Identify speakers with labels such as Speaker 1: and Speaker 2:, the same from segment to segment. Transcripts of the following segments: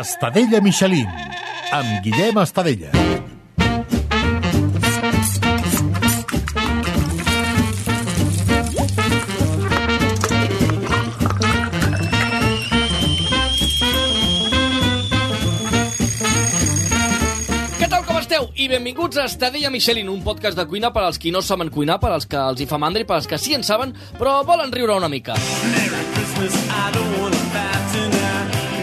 Speaker 1: Estadella Michelin, amb Guillem Estadella.
Speaker 2: Què tal, com esteu? I benvinguts a Estadella Michelin, un podcast de cuina per als qui no saben cuinar, per als que els hi fa mandra i per als que sí en saben, però volen riure una mica.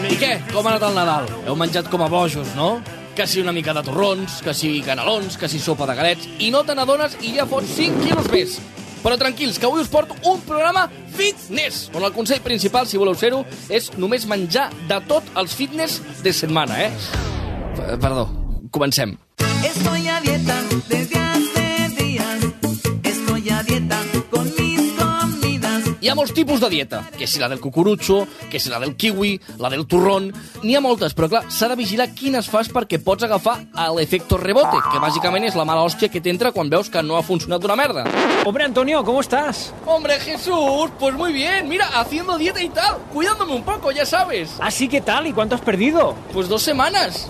Speaker 2: I què? Com ha anat el Nadal? Heu menjat com a bojos, no? Que si una mica de torrons, que si canelons, que si sopa de galets... I no te n'adones i ja fots 5 quilos més. Però tranquils, que avui us porto un programa fitness, on el consell principal, si voleu ser-ho, és només menjar de tot els fitness de setmana, eh? P- Perdó, comencem.
Speaker 3: Estoy a dieta desde hace días. Estoy a dieta con mis comidas.
Speaker 2: Hi ha molts tipus de dieta, que si la del cucurutxo, que si la del kiwi, la del turrón... N'hi ha moltes, però clar, s'ha de vigilar quines fas perquè pots agafar a l'efecto rebote, que bàsicament és la mala hòstia que t'entra quan veus que no ha funcionat una merda.
Speaker 4: Hombre, Antonio, ¿cómo estás?
Speaker 2: Hombre, Jesús, pues muy bien, mira, haciendo dieta y tal, cuidándome un poco, ya sabes.
Speaker 4: Así que Ah, tal, ¿y cuánto has perdido?
Speaker 2: Pues dos setmanes.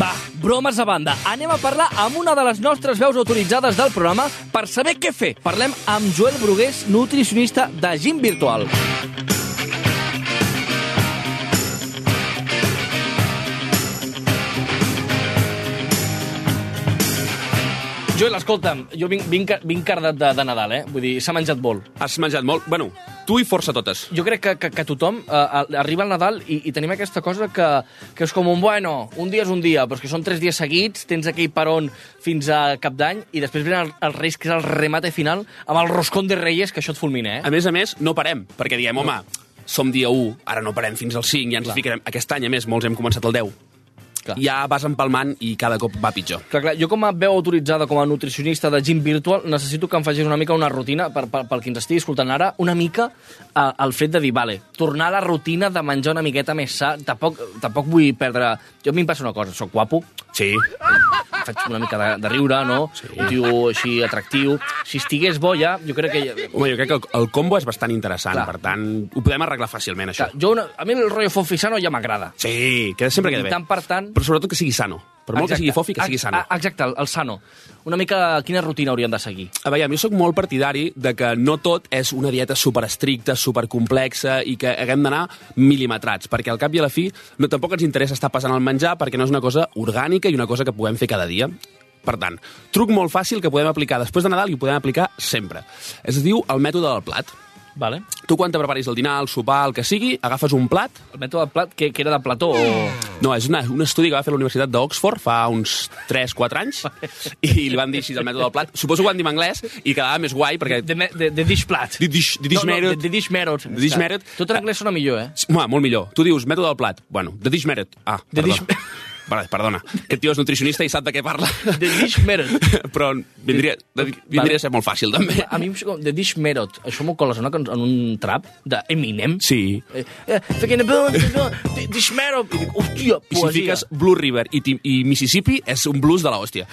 Speaker 2: Va, bromes a banda, anem a parlar amb una de les nostres veus autoritzades del programa per saber què fer. Parlem amb Joel Brugués, nutricionista de Gym Virtual. Joel, escolta'm, jo vinc, vinc, vinc cardat de, de Nadal, eh? Vull dir, s'ha menjat molt.
Speaker 5: Has menjat molt. Bueno, tu i força totes.
Speaker 2: Jo crec que, que, que tothom eh, a- arriba al Nadal i, i tenim aquesta cosa que, que és com un bueno, un dia és un dia, però és que són tres dies seguits, tens aquell peron fins a cap d'any i després venen el- els Reis, que és el remate final, amb el roscón de Reyes, que això et fulmina,
Speaker 5: A
Speaker 2: eh?
Speaker 5: més a més, no parem, perquè diem, home, som dia 1, ara no parem fins al 5, ja ens
Speaker 2: Clar.
Speaker 5: Clar. ficarem... Aquest any, a més, molts hem començat el 10.
Speaker 2: Clar.
Speaker 5: Ja vas empalmant i cada cop va pitjor.
Speaker 2: Clar, clar, jo com a veu autoritzada, com a nutricionista de gym virtual, necessito que em facis una mica una rutina, per, per, pel que ens estigui escoltant ara, una mica eh, el fet de dir, vale, tornar a la rutina de menjar una miqueta més sa, tampoc, tampoc vull perdre... Jo a mi em passa una cosa, sóc guapo,
Speaker 5: Sí.
Speaker 2: faig una mica de, de riure, no? Sí. Un tio així atractiu. Si estigués bo ja, jo crec que... ja-
Speaker 5: Home, jo crec que el, el combo és bastant interessant,
Speaker 2: Clar.
Speaker 5: Clar. per tant, ho podem arreglar fàcilment, això.
Speaker 2: Clar, jo una, a mi el rotllo fofisano ja m'agrada.
Speaker 5: Sí, que sempre queda
Speaker 2: I
Speaker 5: bé.
Speaker 2: tant per tant-
Speaker 5: Però sobretot que sigui sano. Per molt que sigui fofi, que sigui
Speaker 2: Ex-
Speaker 5: sano.
Speaker 2: a- Exacte, el, el sano. Una mica quina rutina hauríem de seguir.
Speaker 5: A veure, jo sóc molt partidari de que no tot és una dieta superestricta, supercomplexa i que haguem d'anar mil·limetrats, perquè al cap i a la fi no tampoc ens interessa estar passant el menjar perquè no és una cosa orgànica i una cosa que puguem fer cada dia. Per tant, truc molt fàcil que podem aplicar després de Nadal i ho podem aplicar sempre. Es diu el mètode del plat.
Speaker 2: Vale.
Speaker 5: Tu quan te preparis el dinar, el sopar, el que sigui, agafes un plat...
Speaker 2: El mètode del plat, que, que era de plató o...
Speaker 5: No, és una, un estudi que va fer la Universitat d'Oxford fa uns 3-4 anys i li van dir així el mètode del plat. Suposo que ho van dir en anglès i quedava més guai perquè...
Speaker 2: De, me- de, de dish plat.
Speaker 5: The dish, the dish
Speaker 2: no, no,
Speaker 5: method.
Speaker 2: de, de dish method.
Speaker 5: The dish method.
Speaker 2: Tot en anglès sona millor, eh?
Speaker 5: Home, molt millor. Tu dius mètode del plat. Bueno, the dish method. Ah,
Speaker 2: The
Speaker 5: the
Speaker 2: dish-
Speaker 5: perdona. Dish... Vale, perdona. Aquest tio és nutricionista i sap de què parla.
Speaker 2: The dish method.
Speaker 5: Però vindria, de,
Speaker 2: Vale.
Speaker 5: vindria a ser molt fàcil, també.
Speaker 2: A mi em sona com de dish method. Això m'ho coles en, una can- en un trap d'Eminem.
Speaker 5: Sí.
Speaker 2: Eh, eh, Fucking boom, boom, dish method. I dic, Hòstia,
Speaker 5: I si
Speaker 2: poesia.
Speaker 5: fiques Blue River i, Tim- i Mississippi, és un blues de la hòstia.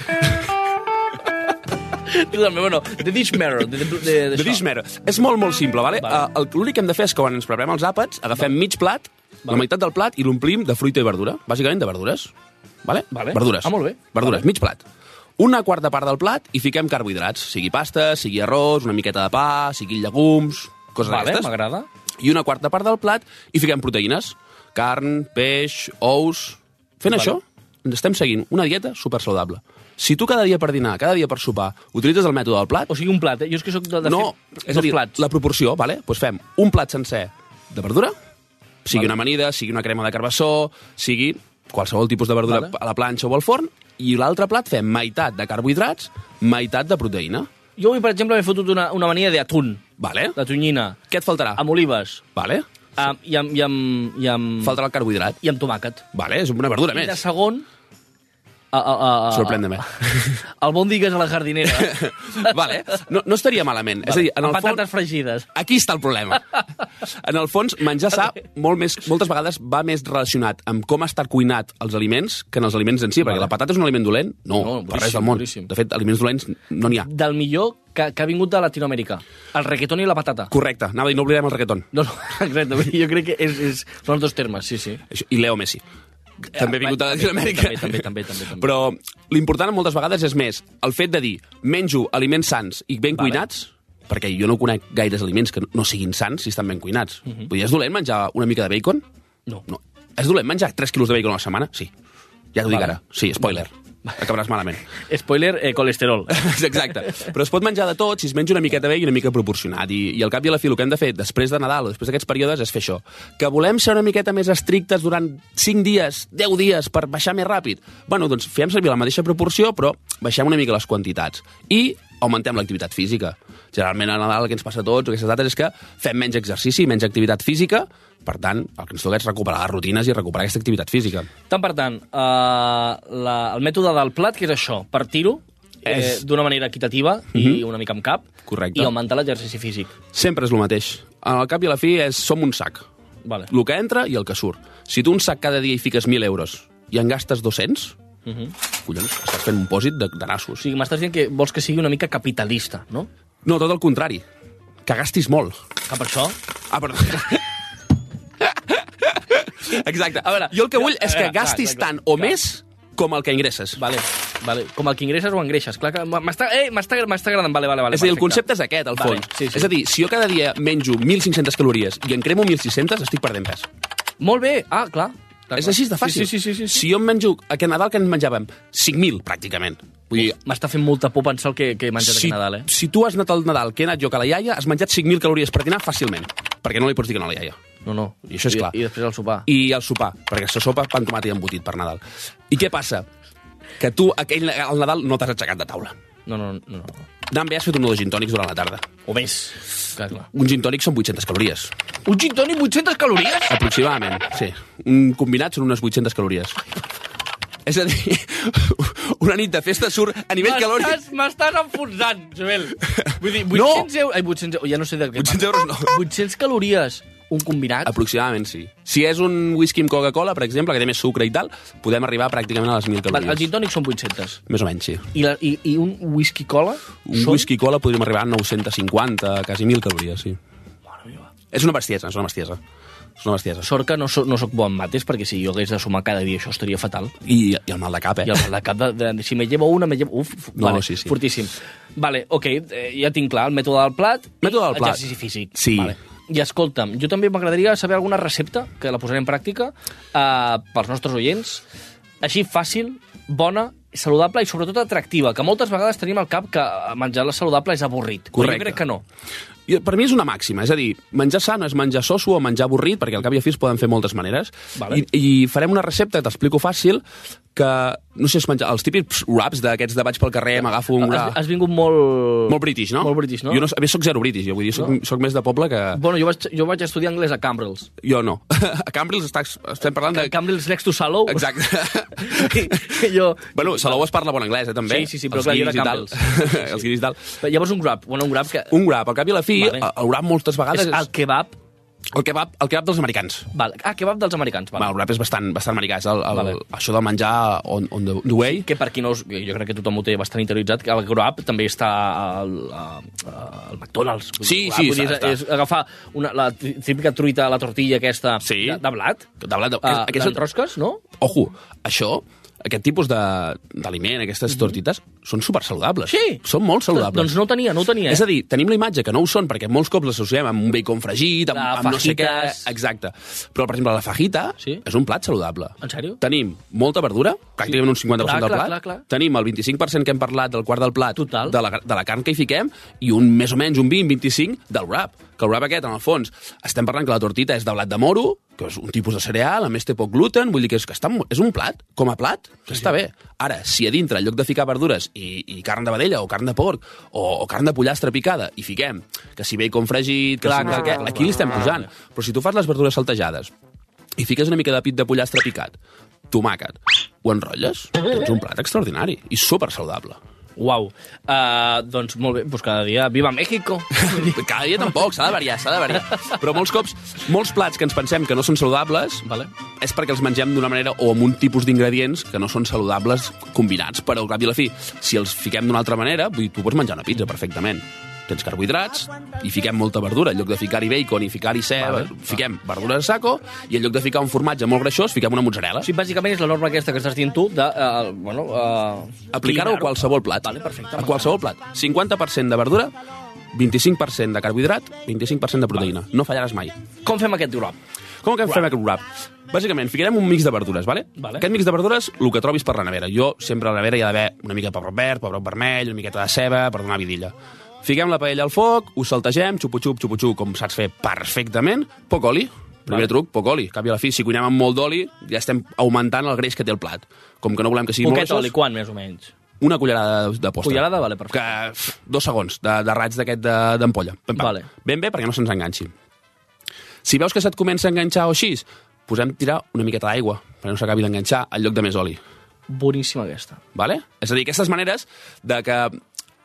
Speaker 2: Tu també, bueno, The Dish Mirror. De, de, de, de,
Speaker 5: The dish method. És molt, molt simple, vale?
Speaker 2: Vale.
Speaker 5: vale. L'únic que hem de fer és que quan ens preparem els àpats, agafem mig plat, la meitat del plat, i l'omplim de fruita i verdura. Bàsicament de verdures. Vale?
Speaker 2: Vale.
Speaker 5: Verdures.
Speaker 2: Ah, molt bé.
Speaker 5: Verdures,
Speaker 2: Vale.
Speaker 5: mig plat. Una quarta part del plat i fiquem carbohidrats, sigui pasta, sigui arròs, una miqueta de pa, sigui llegums, coses
Speaker 2: Vale,
Speaker 5: d'aquestes.
Speaker 2: m'agrada.
Speaker 5: I una quarta part del plat i fiquem proteïnes, carn, peix, ous... Fent
Speaker 2: Vale.
Speaker 5: vale. això, ens estem seguint una dieta super saludable. Si tu cada dia per dinar, cada dia per sopar, utilitzes el mètode del plat,
Speaker 2: O sigui, un plat, eh? Jo és que sóc de, de
Speaker 5: no,
Speaker 2: fer
Speaker 5: és a
Speaker 2: dos
Speaker 5: dir,
Speaker 2: plats.
Speaker 5: la proporció, vale? pues fem un plat sencer de verdura, sigui
Speaker 2: Vale.
Speaker 5: una amanida, sigui una crema de carbassó, sigui qualsevol tipus de verdura
Speaker 2: Vale.
Speaker 5: a la planxa o al forn, i l'altre plat fem meitat de carbohidrats, meitat de proteïna.
Speaker 2: Jo avui, per exemple, m'he fotut una, una mania d'atún,
Speaker 5: Vale?
Speaker 2: de tonyina,
Speaker 5: Què et faltarà?
Speaker 2: amb Mm. olives,
Speaker 5: Vale?
Speaker 2: amb, i, amb, i, amb, i, amb,
Speaker 5: Faltarà el carbohidrat.
Speaker 2: i amb tomàquet.
Speaker 5: Vale, és una verdura
Speaker 2: I de
Speaker 5: més.
Speaker 2: segon... A, a, a, a,
Speaker 5: Sorprèn-me.
Speaker 2: El bon digues a la jardinera.
Speaker 5: vale, no, no estaria malament. Vale. És a dir, en
Speaker 2: amb
Speaker 5: el
Speaker 2: patates
Speaker 5: fons,
Speaker 2: fregides.
Speaker 5: aquí està el problema. En el fons, menjar sa molt més, moltes vegades va més relacionat amb com està cuinat els aliments que en els aliments en si, perquè
Speaker 2: Vale.
Speaker 5: la patata és un aliment dolent? No,
Speaker 2: No,
Speaker 5: no per
Speaker 2: boníssim,
Speaker 5: res del món.
Speaker 2: boníssim.
Speaker 5: De fet, aliments dolents no n'hi ha.
Speaker 2: Del millor que, que ha vingut de Latinoamèrica. El reggaeton i la patata.
Speaker 5: Correcte, anava a dir, no oblidem el reggaeton.
Speaker 2: No, no, exacte. Jo crec que és, és, són els dos termes, sí, sí.
Speaker 5: Això- I Leo Messi. també ha vingut de
Speaker 2: també,
Speaker 5: Llatinoamèrica.
Speaker 2: també, també, també, també, també.
Speaker 5: Però l'important moltes vegades és més el fet de dir menjo aliments sans i ben
Speaker 2: Vale.
Speaker 5: cuinats, perquè jo no conec gaires aliments que no siguin sans si estan ben cuinats. Mm -hmm. Vull dir, és dolent menjar una mica de bacon?
Speaker 2: Mhm. No.
Speaker 5: No. És dolent menjar 3 quilos de bacon a la setmana? Sí. Ja t'ho dic
Speaker 2: Vale.
Speaker 5: ara. Sí, spoiler. Acabaràs malament.
Speaker 2: Spoiler, eh, colesterol.
Speaker 5: Exacte. Però es pot menjar de tot si es menja una miqueta bé i una mica proporcionat. I, i al cap i a la fi el que hem de fer després de Nadal o després d'aquests períodes és fer això. Que volem ser una miqueta més estrictes durant 5 dies, 10 dies, per baixar més ràpid. bueno, doncs fem servir la mateixa proporció, però baixem una mica les quantitats. I augmentem l'activitat física. Generalment a Nadal el que ens passa a tots, aquestes dates, és que fem menys exercici, menys activitat física, per tant, el que ens toca és recuperar les rutines i recuperar aquesta activitat física.
Speaker 2: Tant per tant, eh, la, el mètode del plat, que és això, partir-ho eh,
Speaker 5: És- Mhm.
Speaker 2: d'una manera equitativa i una mica amb cap,
Speaker 5: Correcte.
Speaker 2: i augmentar l'exercici físic.
Speaker 5: Sempre és el mateix. Al cap i a la fi és som un sac.
Speaker 2: Vale.
Speaker 5: el que entra i el que surt. Si tu un sac cada dia hi fiques 1.000 euros i en gastes 200, uh
Speaker 2: Mhm.
Speaker 5: -huh. collons, estàs fent un pòsit de, de
Speaker 2: O
Speaker 5: nassos.
Speaker 2: sigui, m'estàs dient que vols que sigui una mica capitalista, no?
Speaker 5: No, tot el contrari. Que gastis molt.
Speaker 2: Que per això...
Speaker 5: Ah, perdó. Exacte. A veure, jo el que vull és
Speaker 2: A
Speaker 5: que
Speaker 2: veure, clar,
Speaker 5: gastis
Speaker 2: clar, clar,
Speaker 5: tant o
Speaker 2: clar.
Speaker 5: més com el que ingresses.
Speaker 2: Vale, vale. Com el que ingresses o engreixes. Clar que m- m'està eh, m'està m'està agradant. Vale, vale, vale.
Speaker 5: És a dir, el
Speaker 2: perfecte.
Speaker 5: concepte és aquest, al
Speaker 2: Vale,
Speaker 5: fons.
Speaker 2: sí, sí.
Speaker 5: És a dir, si jo cada dia menjo 1.500 calories i en cremo 1.600, estic perdent pes.
Speaker 2: Molt bé. Ah, clar. clar
Speaker 5: És així de
Speaker 2: clar. Sí,
Speaker 5: fàcil.
Speaker 2: sí, sí. sí, sí.
Speaker 5: Si jo em menjo... Aquest Nadal que en menjàvem 5.000, pràcticament. Vull dir,
Speaker 2: M'està fent molta por pensar el que, que he menjat
Speaker 5: si,
Speaker 2: aquest Nadal, eh?
Speaker 5: Si tu has anat al Nadal, que he anat jo que la iaia, has menjat 5.000 calories per dinar fàcilment, perquè no li pots dir que no a la iaia.
Speaker 2: No, no.
Speaker 5: I això és clar.
Speaker 2: I, i després el sopar. I...
Speaker 5: I el sopar, perquè se sopa pa amb tomata i embotit per Nadal. I què passa? Que tu aquell, al Nadal no t'has aixecat de taula.
Speaker 2: No, no, no, no.
Speaker 5: Anant bé, has fet un dos gin tònics durant la tarda.
Speaker 2: O més. Clar, clar.
Speaker 5: Un gin tònic són 800 calories,
Speaker 2: Un gin tònic, 800 calories?
Speaker 5: aproximadament. Sí, un combinat són unes 800 calories. És a dir, una nit de festa surt a nivell calòric...
Speaker 2: M'estàs- M'estàs enfonsant, Joel. Vull dir,
Speaker 5: No!
Speaker 2: 800 euros... Ai, 800 euros, ja no sé de què
Speaker 5: 800 euros no.
Speaker 2: 800 calories, un combinat.
Speaker 5: Aproximadament, sí. Si és un whisky amb Coca-Cola, per exemple, que té més sucre i tal, podem arribar pràcticament a les 1.000
Speaker 2: Vale,
Speaker 5: calories.
Speaker 2: el gin tònic són 800.
Speaker 5: Més o menys, sí.
Speaker 2: I, la, i, i un whisky cola?
Speaker 5: Un
Speaker 2: són-
Speaker 5: whisky cola podríem arribar a 950, quasi 1.000 calories, sí. És una bestiesa, és una bestiesa. És una bestiesa.
Speaker 2: Sort que no, so, no sóc bo en mates, perquè si jo hagués de sumar cada dia això estaria fatal.
Speaker 5: I, I el mal de cap, eh?
Speaker 2: I el de cap de, de, si me llevo una, me llevo... Uf, fu-
Speaker 5: No,
Speaker 2: vale,
Speaker 5: sí, sí.
Speaker 2: fortíssim. Vale, ok, eh, ja tinc clar el mètode del plat i
Speaker 5: Mètode del plat.
Speaker 2: exercici físic.
Speaker 5: Sí.
Speaker 2: Vale. I escolta'm, jo també m'agradaria saber alguna recepta, que la posaré en pràctica, eh, pels nostres oients, així fàcil, bona, saludable i sobretot atractiva, que moltes vegades tenim al cap que menjar-la saludable és avorrit. Però
Speaker 5: Correcte.
Speaker 2: Jo crec que no.
Speaker 5: I per mi és una màxima, és a dir, menjar sa no és menjar soso o menjar avorrit, perquè al cap i a fi es poden fer moltes maneres,
Speaker 2: Vale.
Speaker 5: I, i farem una recepta, t'explico fàcil, que, no sé, és menjar els típics wraps d'aquests de vaig pel carrer, m'agafo un wrap...
Speaker 2: Has, has vingut molt...
Speaker 5: Molt british, no?
Speaker 2: Molt british, no?
Speaker 5: Jo no, a més, soc zero british, jo vull dir, soc, no. soc més de poble que...
Speaker 2: Bueno, jo vaig, jo vaig estudiar anglès a Cambrils.
Speaker 5: Jo no. A Cambrils està, estem parlant de...
Speaker 2: Cambrils next to Salou.
Speaker 5: Exacte.
Speaker 2: I jo...
Speaker 5: Bueno, Salou es parla bon anglès, eh, també.
Speaker 2: Sí, sí, sí, però
Speaker 5: Els
Speaker 2: clar, jo era
Speaker 5: guiris i tal.
Speaker 2: Campbell's. Sí, sí.
Speaker 5: Els guiris i tal.
Speaker 2: Llavors un grab, bueno, un grab que...
Speaker 5: Un grab, al cap i a la fi,
Speaker 2: Vale.
Speaker 5: vale. el grab moltes
Speaker 2: és
Speaker 5: vegades...
Speaker 2: el kebab...
Speaker 5: el kebab, el kebab dels americans.
Speaker 2: Val. Ah, kebab dels americans,
Speaker 5: Vale.
Speaker 2: val.
Speaker 5: El rap és bastant, bastant americà, és el, el,
Speaker 2: Vale.
Speaker 5: això de menjar on, on the, the way.
Speaker 2: Que per qui no... us- Jo crec que tothom ho té bastant interioritzat, que el grab també està al, al, al McDonald's. Vull dir,
Speaker 5: Sí,
Speaker 2: grab,
Speaker 5: sí,
Speaker 2: vull dir,
Speaker 5: està, està.
Speaker 2: és, és agafar una, la tí- típica truita, la tortilla aquesta
Speaker 5: Sí.
Speaker 2: de, de blat.
Speaker 5: De blat de-
Speaker 2: Uh,
Speaker 5: aquesta-
Speaker 2: aquestes rosques, no?
Speaker 5: Ojo, això, aquest tipus de- d'aliment, aquestes tortites, són supersaludables.
Speaker 2: Mhm. Sí.
Speaker 5: Són molt saludables.
Speaker 2: Doncs no ho tenia, no ho tenia.
Speaker 5: És a dir, tenim la imatge que no ho són, perquè molts cops l'associem amb un bacon fregit, amb,
Speaker 2: La
Speaker 5: amb no sé què...
Speaker 2: fajitas.
Speaker 5: Exacte. Però, per exemple, la fajita
Speaker 2: Sí.
Speaker 5: és un plat saludable.
Speaker 2: En sèrio?
Speaker 5: Tenim molta verdura, pràcticament un 50%
Speaker 2: Clar,
Speaker 5: del
Speaker 2: clar,
Speaker 5: plat.
Speaker 2: clar, clar.
Speaker 5: Tenim el 25% que hem parlat del quart del plat
Speaker 2: Total.
Speaker 5: De, la, de la carn que hi fiquem i un més o menys un 20-25 del wrap. Que el wrap aquest, en el fons, estem parlant que la tortita és de blat de moro, que és un tipus de cereal, a més té poc gluten, vull dir que és, que està, mo- és un plat, com a plat, que està bé. Ara, si a dintre, en lloc de ficar verdures i, i carn de vedella o carn de porc o, o carn de pollastre picada, i fiquem que si bacon fregit, que
Speaker 2: Clar,
Speaker 5: si no
Speaker 2: clar,
Speaker 5: sé què,
Speaker 2: clar, clar,
Speaker 5: aquí li estem
Speaker 2: clar,
Speaker 5: posant. Però si tu fas les verdures saltejades i fiques una mica de pit de pollastre picat, tomàquet, ho enrotlles, tens un plat extraordinari i super saludable.
Speaker 2: Uau. Uh, doncs molt bé, doncs cada dia... Viva México!
Speaker 5: Cada dia tampoc, s'ha de variar, s'ha de variar. Però molts cops, molts plats que ens pensem que no són saludables
Speaker 2: Vale.
Speaker 5: és perquè els mengem d'una manera o amb un tipus d'ingredients que no són saludables combinats. Però, al cap i a la fi, si els fiquem d'una altra manera, vull dir, tu pots menjar una pizza perfectament. tens carbohidrats i fiquem molta verdura. En lloc de ficar-hi bacon i ficar-hi ceba, vale. fiquem verdura de saco i en lloc de ficar un formatge molt greixós, fiquem una mozzarella.
Speaker 2: O sigui, bàsicament és la norma aquesta que estàs dient tu de, eh, bueno, eh,
Speaker 5: Aplicar-ho a
Speaker 2: eliminar-ho.
Speaker 5: qualsevol plat. Vale, perfecte, a qualsevol plat. 50% de verdura, 25% de carbohidrat, 25% de proteïna. No fallaràs mai.
Speaker 2: Com fem aquest drop?
Speaker 5: Com que fem aquest wrap? Bàsicament, ficarem un mix de verdures, vale?
Speaker 2: Vale.
Speaker 5: Aquest mix de verdures, el que trobis per la nevera. Jo, sempre a la nevera hi ha d'haver una mica de pebrot verd, pebrot vermell, una miqueta de ceba, per donar vidilla. Fiquem la paella al foc, ho saltegem, xupu-xup, xupu-xup, com saps fer perfectament, poc oli, Primer vale. truc, poc oli. A cap i a la fi, si cuinem amb molt d'oli, ja estem augmentant el greix que té el plat. Com que no volem que sigui molt
Speaker 2: Poquet
Speaker 5: greixós,
Speaker 2: oli, quan, més o menys?
Speaker 5: una cullerada de, de postre.
Speaker 2: Cullerada, vale, perfecte.
Speaker 5: Que, pff, dos segons de, de raig d'aquest de- d'ampolla. Pam, pam.
Speaker 2: Vale.
Speaker 5: Ben bé perquè no se'ns enganxi. Si veus que se't comença a enganxar o així, posem tirar una miqueta d'aigua perquè no s'acabi d'enganxar al lloc de més oli.
Speaker 2: Boníssima aquesta.
Speaker 5: Vale? És a dir, aquestes maneres de que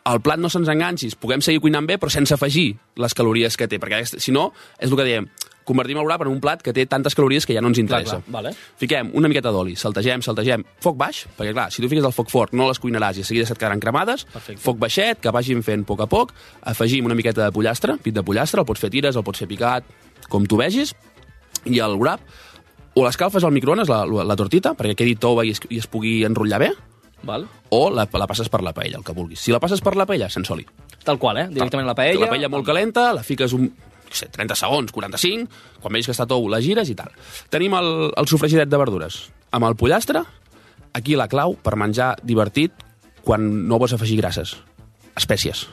Speaker 5: el plat no se'ns enganxis, puguem seguir cuinant bé, però sense afegir les calories que té, perquè aquest- si no, és el que diem, convertim el wrap en un plat que té tantes calories que ja no ens interessa.
Speaker 2: clar, vale.
Speaker 5: Fiquem una miqueta d'oli, saltegem, saltegem, foc baix, perquè clar, si tu fiques el foc fort no les cuinaràs i de seguida se't quedaran cremades, Perfecte. foc baixet, que vagin fent a poc a poc, afegim una miqueta de pollastre, pit de pollastre, el pots fer a tires, el pots fer picat, com tu vegis, i el wrap o l'escalfes al microones, la, la, la tortita, perquè quedi tova i es, i es pugui enrotllar bé,
Speaker 2: Val?
Speaker 5: o la, la passes per la paella, el que vulguis. Si la passes per la paella, sense oli.
Speaker 2: Tal qual, eh? Directament a la paella.
Speaker 5: La paella molt calenta, la fiques un no sé, 30 segons, 45, quan veus que està tou, la gires i tal. Tenim el, el sofregidet de verdures. Amb el pollastre, aquí la clau per menjar divertit quan no vols afegir grasses. Espècies.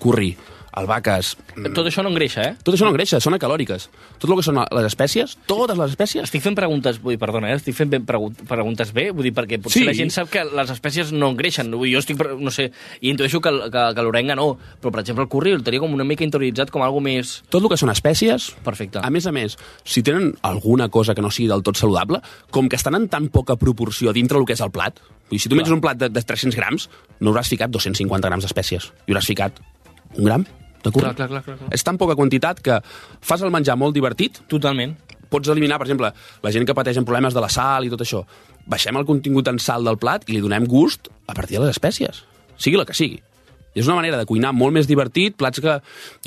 Speaker 5: Curri, albaques... mm,
Speaker 2: Tot això no engreixa, eh?
Speaker 5: Tot això no engreixa, són calòriques. Tot el que són les espècies, totes les espècies,
Speaker 2: Estic fent preguntes, vull dir, perdona, eh? estic fent ben pregu preguntes bé, vull dir, perquè potser
Speaker 5: Sí.
Speaker 2: la gent sap que les espècies no engreixen. Vull, dir, jo estic, pre- no sé, i intueixo que, el- que, que l'orenga no, però, per exemple, el curri el tenia com una mica interioritzat com algo més...
Speaker 5: tot el que són espècies...
Speaker 2: Perfecte.
Speaker 5: A més a més, si tenen alguna cosa que no sigui del tot saludable, com que estan en tan poca proporció dintre el que és el plat, vull dir, si tu menges un plat de, de 300 grams, no hauràs ficat 250 grams d'espècies, hi hauràs ficat un gram de curri.
Speaker 2: Clar, clar, clar, clar, clar.
Speaker 5: És tan poca quantitat que fas el menjar molt divertit,
Speaker 2: Totalment.
Speaker 5: pots eliminar, per exemple, la gent que pateix en problemes de la sal i tot això. Baixem el contingut en sal del plat i li donem gust a partir de les espècies, sigui la que sigui. I és una manera de cuinar molt més divertit, plats que...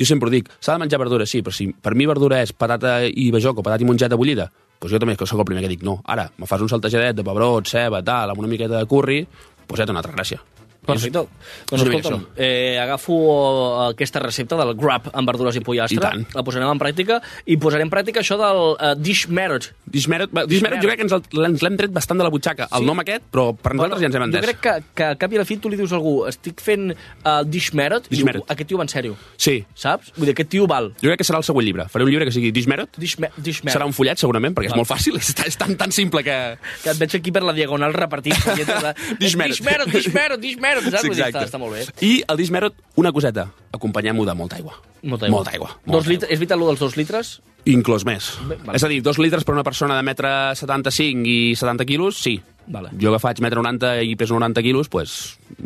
Speaker 5: Jo sempre ho dic, s'ha de menjar verdura, sí, però si per mi verdura és patata i bajoc o patata i mongeta bullida, doncs jo també sóc el primer que dic no. Ara, me fas un saltejadet de pebrot, ceba, tal, amb una miqueta de curri, doncs ja té una altra gràcia.
Speaker 2: Perfecte. Doncs
Speaker 5: una mica
Speaker 2: escolta'm, eh, agafo eh, aquesta recepta del grab amb verdures i pollastre,
Speaker 5: I tant.
Speaker 2: la posarem en pràctica, i posarem en pràctica això del eh, dish marriage.
Speaker 5: Dismeret, Dismeret, jo crec que ens el- ens l'hem tret bastant de la butxaca, el nom aquest, però per nosaltres ja ens hem entès.
Speaker 2: Jo crec que, que al cap i a la fi tu li dius a algú estic fent uh, dish merit,
Speaker 5: Dish
Speaker 2: diu,
Speaker 5: merit.
Speaker 2: aquest tio va en sèrio,
Speaker 5: Sí,
Speaker 2: saps? Vull dir, aquest tio val.
Speaker 5: Jo crec que serà el següent llibre. Faré un llibre que sigui Dismerot.
Speaker 2: Dish, me dish merit.
Speaker 5: Serà un fullet, segurament, perquè és molt fàcil. És, tan- és tan, tan simple que...
Speaker 2: Que et veig aquí per la diagonal repartit. folletes de-
Speaker 5: Dish merit.
Speaker 2: Dish merit, dish merit, dish merit, saps? Vull dir, Està, està molt bé.
Speaker 5: I el Dismerot, una coseta. Acompanyem-ho de molta aigua.
Speaker 2: Molta aigua.
Speaker 5: Molta aigua. Molta
Speaker 2: Dos litres, és vital lo dels dos litres?
Speaker 5: aigua. Inclòs més.
Speaker 2: vale.
Speaker 5: És a dir, dos litres per una persona de metre 75 i 70 quilos, sí.
Speaker 2: Vale.
Speaker 5: Jo que faig metre 90 i peso 90 quilos, doncs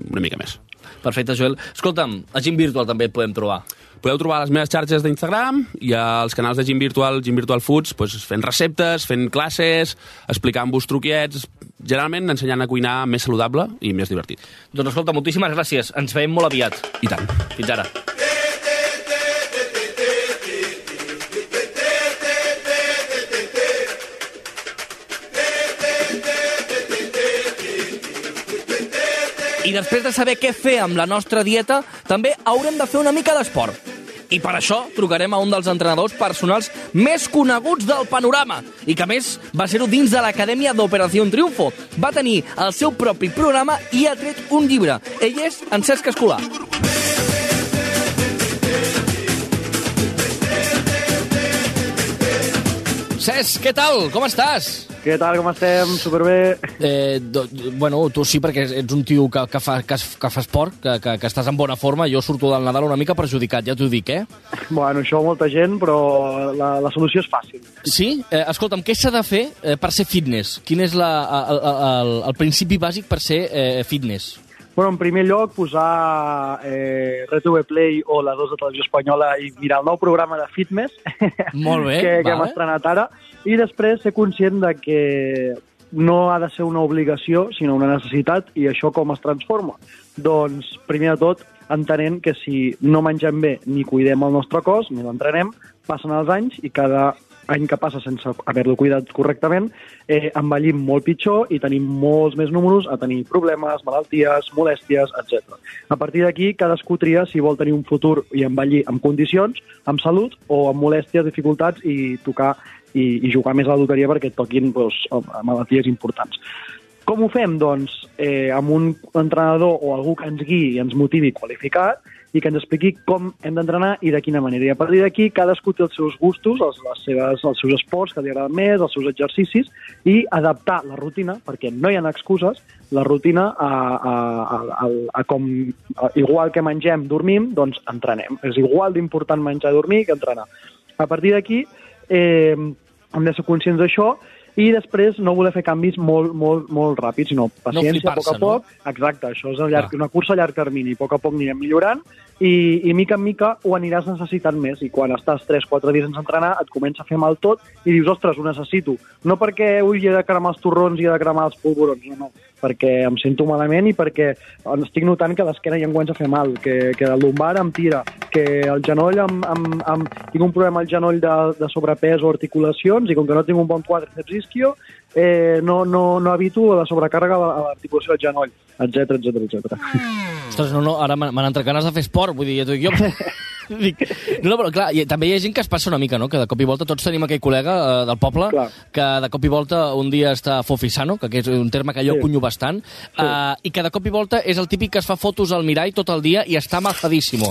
Speaker 5: una mica més.
Speaker 2: Perfecte, Joel. Escolta'm, a Gym Virtual també et podem trobar.
Speaker 5: Podeu trobar a les meves xarxes d'Instagram i als canals de Gym Virtual, Gym Virtual Foods, doncs, fent receptes, fent classes, explicant-vos truquets, generalment ensenyant a cuinar més saludable i més divertit.
Speaker 2: Doncs escolta, moltíssimes gràcies. Ens veiem molt aviat.
Speaker 5: I tant.
Speaker 2: Fins ara. I després de saber què fer amb la nostra dieta, també haurem de fer una mica d'esport. I per això trucarem a un dels entrenadors personals més coneguts del panorama i que, a més, va ser-ho dins de l'Acadèmia d'Operació Triunfo. Va tenir el seu propi programa i ha tret un llibre. Ell és en Cesc Escolar.
Speaker 6: Cesc, què tal? Com estàs?
Speaker 7: Què tal, com estem? Superbé.
Speaker 6: Eh, do, bueno, tu sí, perquè ets un tio que, que, fa, que, es- que fa esport, que, que, que estàs en bona forma. Jo surto del Nadal una mica perjudicat, ja t'ho dic, eh?
Speaker 7: Bueno, això molta gent, però la, la solució és fàcil.
Speaker 6: Sí? Eh, escolta'm, què s'ha de fer eh, per ser fitness? Quin és la, el, el, el principi bàsic per ser eh, fitness?
Speaker 7: Bueno, en primer lloc, posar eh, RTV Play o la 2 de Televisió Espanyola i mirar el nou programa de Fitness
Speaker 6: Molt bé,
Speaker 7: que, que hem
Speaker 2: eh?
Speaker 6: vale.
Speaker 7: estrenat ara. I després ser conscient de que no ha de ser una obligació, sinó una necessitat, i això com es transforma? Doncs, primer de tot, entenent que si no mengem bé ni cuidem el nostre cos, ni l'entrenem, passen els anys i cada any que passa sense haver-lo cuidat correctament, eh, envellim molt pitjor i tenim molts més números a tenir problemes, malalties, molèsties, etc. A partir d'aquí, cadascú tria si vol tenir un futur i envellir amb condicions, amb salut o amb molèsties, dificultats i tocar i, i jugar més a la loteria perquè et toquin doncs, malalties importants. Com ho fem? Doncs eh, amb un entrenador o algú que ens guiï i ens motivi qualificat i que ens expliqui com hem d'entrenar i de quina manera. I a partir d'aquí cadascú té els seus gustos, els, les seves, els seus esports que li agraden més, els seus exercicis, i adaptar la rutina, perquè no hi ha excuses, la rutina a, a, a, a, a com, a, igual que mengem, dormim, doncs entrenem. És igual d'important menjar i dormir que entrenar. A partir d'aquí eh, hem de ser conscients d'això i després no voler fer canvis molt, molt, molt ràpids, sinó paciència, a
Speaker 2: flipar-se,
Speaker 7: poc a
Speaker 2: no? Ah.
Speaker 7: poc. Exacte, això és a llarg, una cursa a llarg termini. A poc a poc anirem millorant i, i mica en mica ho aniràs necessitant més. I quan estàs 3-4 dies sense entrenar et comença a fer mal tot i dius, ostres, ho necessito. No perquè avui he de cremar els torrons i he de cremar els polvorons, no, no. Perquè em sento malament i perquè estic notant que l'esquena ja em comença a fer mal, que, que el lumbar em tira, que el genoll em, em, em, tinc un problema al genoll de, de sobrepès o articulacions i com que no tinc un bon quadriceps isquio, eh, no, no, no evito la sobrecàrrega a l'articulació del genoll, etc etc etc.
Speaker 2: Ostres, no, no, ara m'han m'han entrat ganes de fer esport, vull dir, ja t'ho dic jo. Dic, no, però clar, hi, també hi ha gent que es passa una mica, no? Que de cop i volta tots tenim aquell col·lega eh, del poble
Speaker 7: Clar.
Speaker 2: que de cop i volta un dia està fofisano, que aquest és un terme que jo sí. cunyo bastant, sí. eh, i que de cop i volta és el típic que es fa fotos al mirall tot el dia i està mafadíssimo.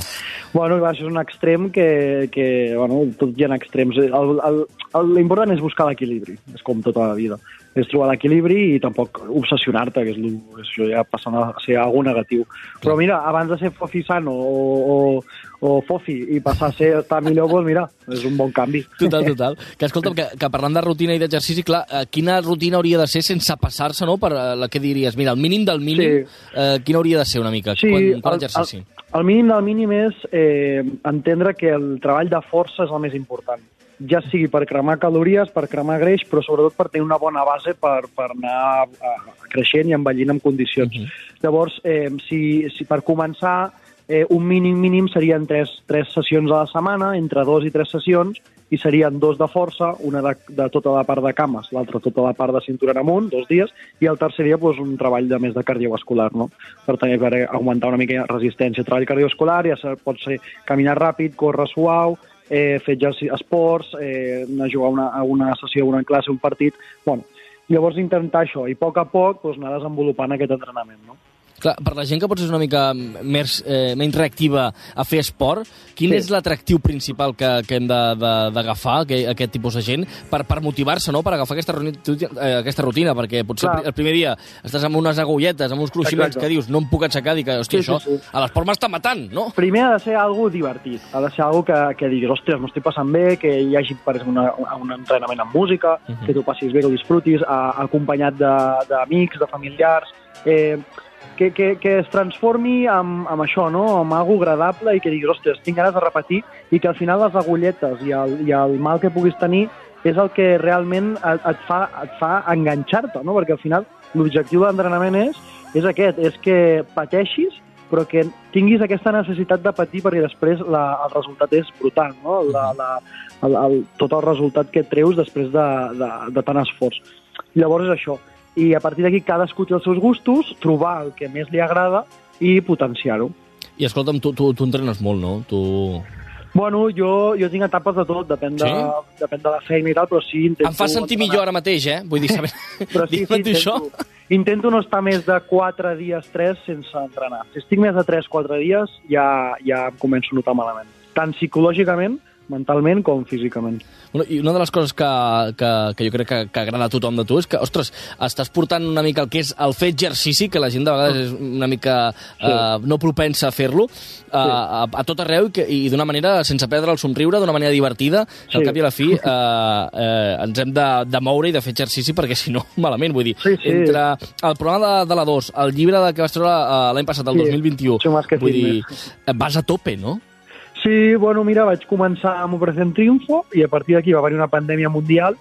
Speaker 7: Bueno, clar, això és un extrem que, que bueno, tot hi ha extrems. El- el- el- L'important és buscar l'equilibri, és com tota la vida. És trobar l'equilibri i tampoc obsessionar-te, que és lo, això ja passant a ser algo negatiu. Però mira, abans de ser fofisano o, o, o fofi i passar a ser estar millor, doncs mira, és un bon canvi.
Speaker 2: Total, total. Que escolta'm, que, que parlant de rutina i d'exercici, clar, eh, quina rutina hauria de ser sense passar-se, no?, per eh, la que diries? Mira, el mínim del mínim,
Speaker 7: Sí.
Speaker 2: sí. eh, quina hauria de ser una mica? quan, quan exercici?
Speaker 7: El, el mínim del mínim és eh, entendre que el treball de força és el més important. Ja sigui per cremar calories, per cremar greix, però sobretot per tenir una bona base per, per anar eh, creixent i envellint en condicions. Uh -huh. Llavors, eh, si, si per començar, eh, un mínim mínim serien tres, tres sessions a la setmana, entre dos i tres sessions, i serien dos de força, una de, de tota la part de cames, l'altra tota la part de cintura en amunt, dos dies, i el tercer dia doncs, un treball de més de cardiovascular, no? per, tenir, per augmentar una mica resistència. Treball cardiovascular ja se- pot ser caminar ràpid, córrer suau, eh, fer exercici, esports, eh, anar a jugar una, a una sessió, una classe, un partit... Bueno, llavors intentar això, i a poc a poc doncs, anar desenvolupant aquest entrenament. No?
Speaker 2: Clar, per la gent que potser és una mica més, eh, menys reactiva a fer esport, quin sí. és l'atractiu principal que, que hem de- de- d'agafar, que- aquest tipus de gent, per, per motivar-se, no?, per agafar aquesta, runi- tu- eh, aquesta rutina, perquè potser
Speaker 7: Clar.
Speaker 2: Clar. el primer dia estàs amb unes agulletes, amb uns cruiximents
Speaker 7: Exacte.
Speaker 2: que dius, no em puc aixecar, dic, hòstia, sí,
Speaker 7: Sí, sí,
Speaker 2: això, sí,
Speaker 7: sí.
Speaker 2: sí. a l'esport m'està matant, no?
Speaker 7: Primer ha de ser algo divertit, ha de ser algo que, que diguis, ostres, m'ho estic passant bé, que hi hagi per exemple, una, una- un entrenament amb música, uh -huh. que tu passis bé, que ho disfrutis, a, acompanyat de- d'amics, de, de familiars, eh, que, que, que es transformi en, en això, no? en algo agradable i que diguis, ostres, tinc ganes de repetir i que al final les agulletes i el, i el mal que puguis tenir és el que realment et, et fa, et fa enganxar-te, no? perquè al final l'objectiu de l'entrenament és, és aquest, és que pateixis però que tinguis aquesta necessitat de patir perquè després la, el resultat és brutal, no? La,
Speaker 2: Mhm.
Speaker 7: la, el, el, tot el resultat que treus després de, de, de tant esforç. Llavors és això. I a partir d'aquí cadascú té els seus gustos, trobar el que més li agrada i potenciar-ho.
Speaker 2: I escolta'm, tu, tu, tu entrenes molt, no? Tu...
Speaker 7: Bueno, jo, jo tinc etapes de tot, depèn de,
Speaker 2: Sí?
Speaker 7: depèn de la feina i tal, però sí... Intento
Speaker 2: Em fa sentir
Speaker 7: entrenar.
Speaker 2: millor ara mateix, eh? Vull dir, saber...
Speaker 7: Però sí, sí,
Speaker 2: Digue'm tu això.
Speaker 7: intento, intento no estar més de 4 dies, 3, sense entrenar. Si estic més de 3, 4 dies, ja, ja em començo a notar malament. Tant psicològicament, mentalment, com físicament.
Speaker 2: Bueno, I una de les coses que, que, que jo crec que, que agrada a tothom de tu és que, ostres, estàs portant una mica el que és el fer exercici, que la gent de vegades és una mica sí. uh, no propensa a fer-lo, uh, a, a tot arreu i, que- i d'una manera sense perdre el somriure, d'una manera divertida, que
Speaker 7: Sí.
Speaker 2: al cap i a la fi uh, uh, ens hem de, de moure i de fer exercici perquè si no, malament, vull dir.
Speaker 7: Sí, sí.
Speaker 2: Entre el programa de, de la 2, el llibre de que vas treure eh, l'any passat, el
Speaker 7: Sí.
Speaker 2: 2021,
Speaker 7: Som els que
Speaker 2: vull dir,
Speaker 7: fitness.
Speaker 2: eh, vas a tope, no?
Speaker 7: Sí, bueno, mira, vaig començar amb Operación Triunfo i a partir d'aquí va haver una pandèmia mundial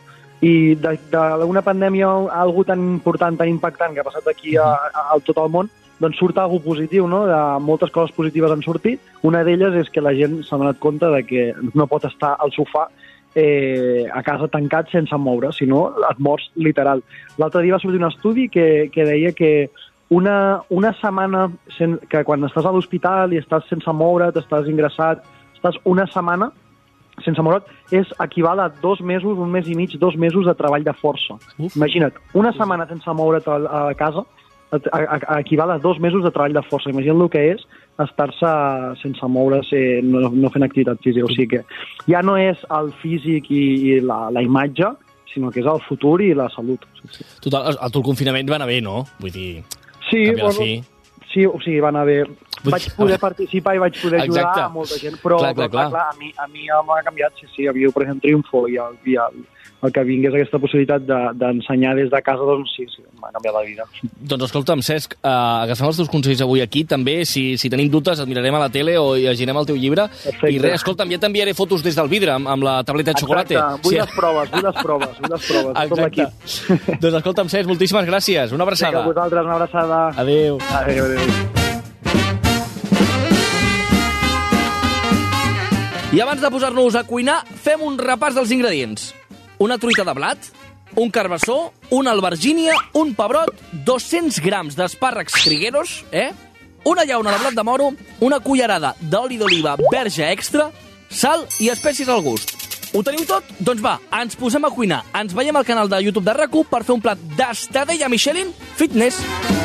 Speaker 7: i d'una pandèmia a algú tan important, tan impactant que ha passat aquí a, a, a tot el món, doncs surt alguna positiu, no? De moltes coses positives han sortit. Una d'elles és que la gent s'ha donat compte de que no pot estar al sofà eh, a casa tancat sense moure, si no et mors literal. L'altre dia va sortir un estudi que, que deia que una, una setmana sen, que quan estàs a l'hospital i estàs sense moure't, estàs ingressat, estàs una setmana sense moure't, és equival a dos mesos, un mes i mig, dos mesos de treball de força. Uf. Imagina't, una setmana sense moure't a, a casa et- a- a- equival a dos mesos de treball de força. Imagina't el que és estar-se sense moure's, eh, no, no fent activitat física. O sigui que ja no és el físic i, i la, la imatge, sinó que és el futur i la salut. Sí, sí.
Speaker 6: Total, el, el teu confinament va anar bé, no? Vull dir,
Speaker 7: Sí,
Speaker 6: Canvi a la fi.
Speaker 7: sí, o sigui, va anar bé.
Speaker 6: Vull
Speaker 7: Vaig
Speaker 6: dir, a
Speaker 7: poder
Speaker 6: veure.
Speaker 7: participar i vaig poder ajudar
Speaker 6: Exacte.
Speaker 7: a molta gent, però,
Speaker 6: Clar, clar,
Speaker 7: però, clar,
Speaker 6: clar.
Speaker 7: a mi, a mi ja m'ha canviat, sí, sí, hi havia, per exemple, Triunfo i el, i el, el que vingués aquesta possibilitat de- d'ensenyar des de casa, doncs sí, sí, m'ha canviat la vida.
Speaker 6: Doncs escolta'm, Cesc, eh, agafem els teus consells avui aquí, també. Si, si tenim dubtes, et mirarem a la tele o llegirem el teu llibre.
Speaker 7: Perfecte.
Speaker 6: I res, escolta'm, ja t'enviaré fotos des del vidre amb, amb la tableta de xocolata.
Speaker 7: Exacte, vull les proves, vull les proves, vull les proves, de tot
Speaker 6: Exacte.
Speaker 7: l'equip.
Speaker 6: doncs escolta'm, Cesc, moltíssimes gràcies. Una
Speaker 7: Vinga,
Speaker 6: abraçada.
Speaker 7: a vosaltres, una abraçada.
Speaker 6: Adéu.
Speaker 7: Adéu, adéu.
Speaker 2: I abans de posar-nos a cuinar, fem un repàs dels ingredients. Una truita de blat, un carbassó, una albergínia, un pebrot, 200 grams d'espàrrecs trigueros, eh? una llauna de blat de moro, una cullerada d'oli d'oliva verge extra, sal i espècies al gust. Ho teniu tot? Doncs va, ens posem a cuinar. Ens veiem al canal de YouTube de rac per fer un plat d'estadella Michelin Fitness.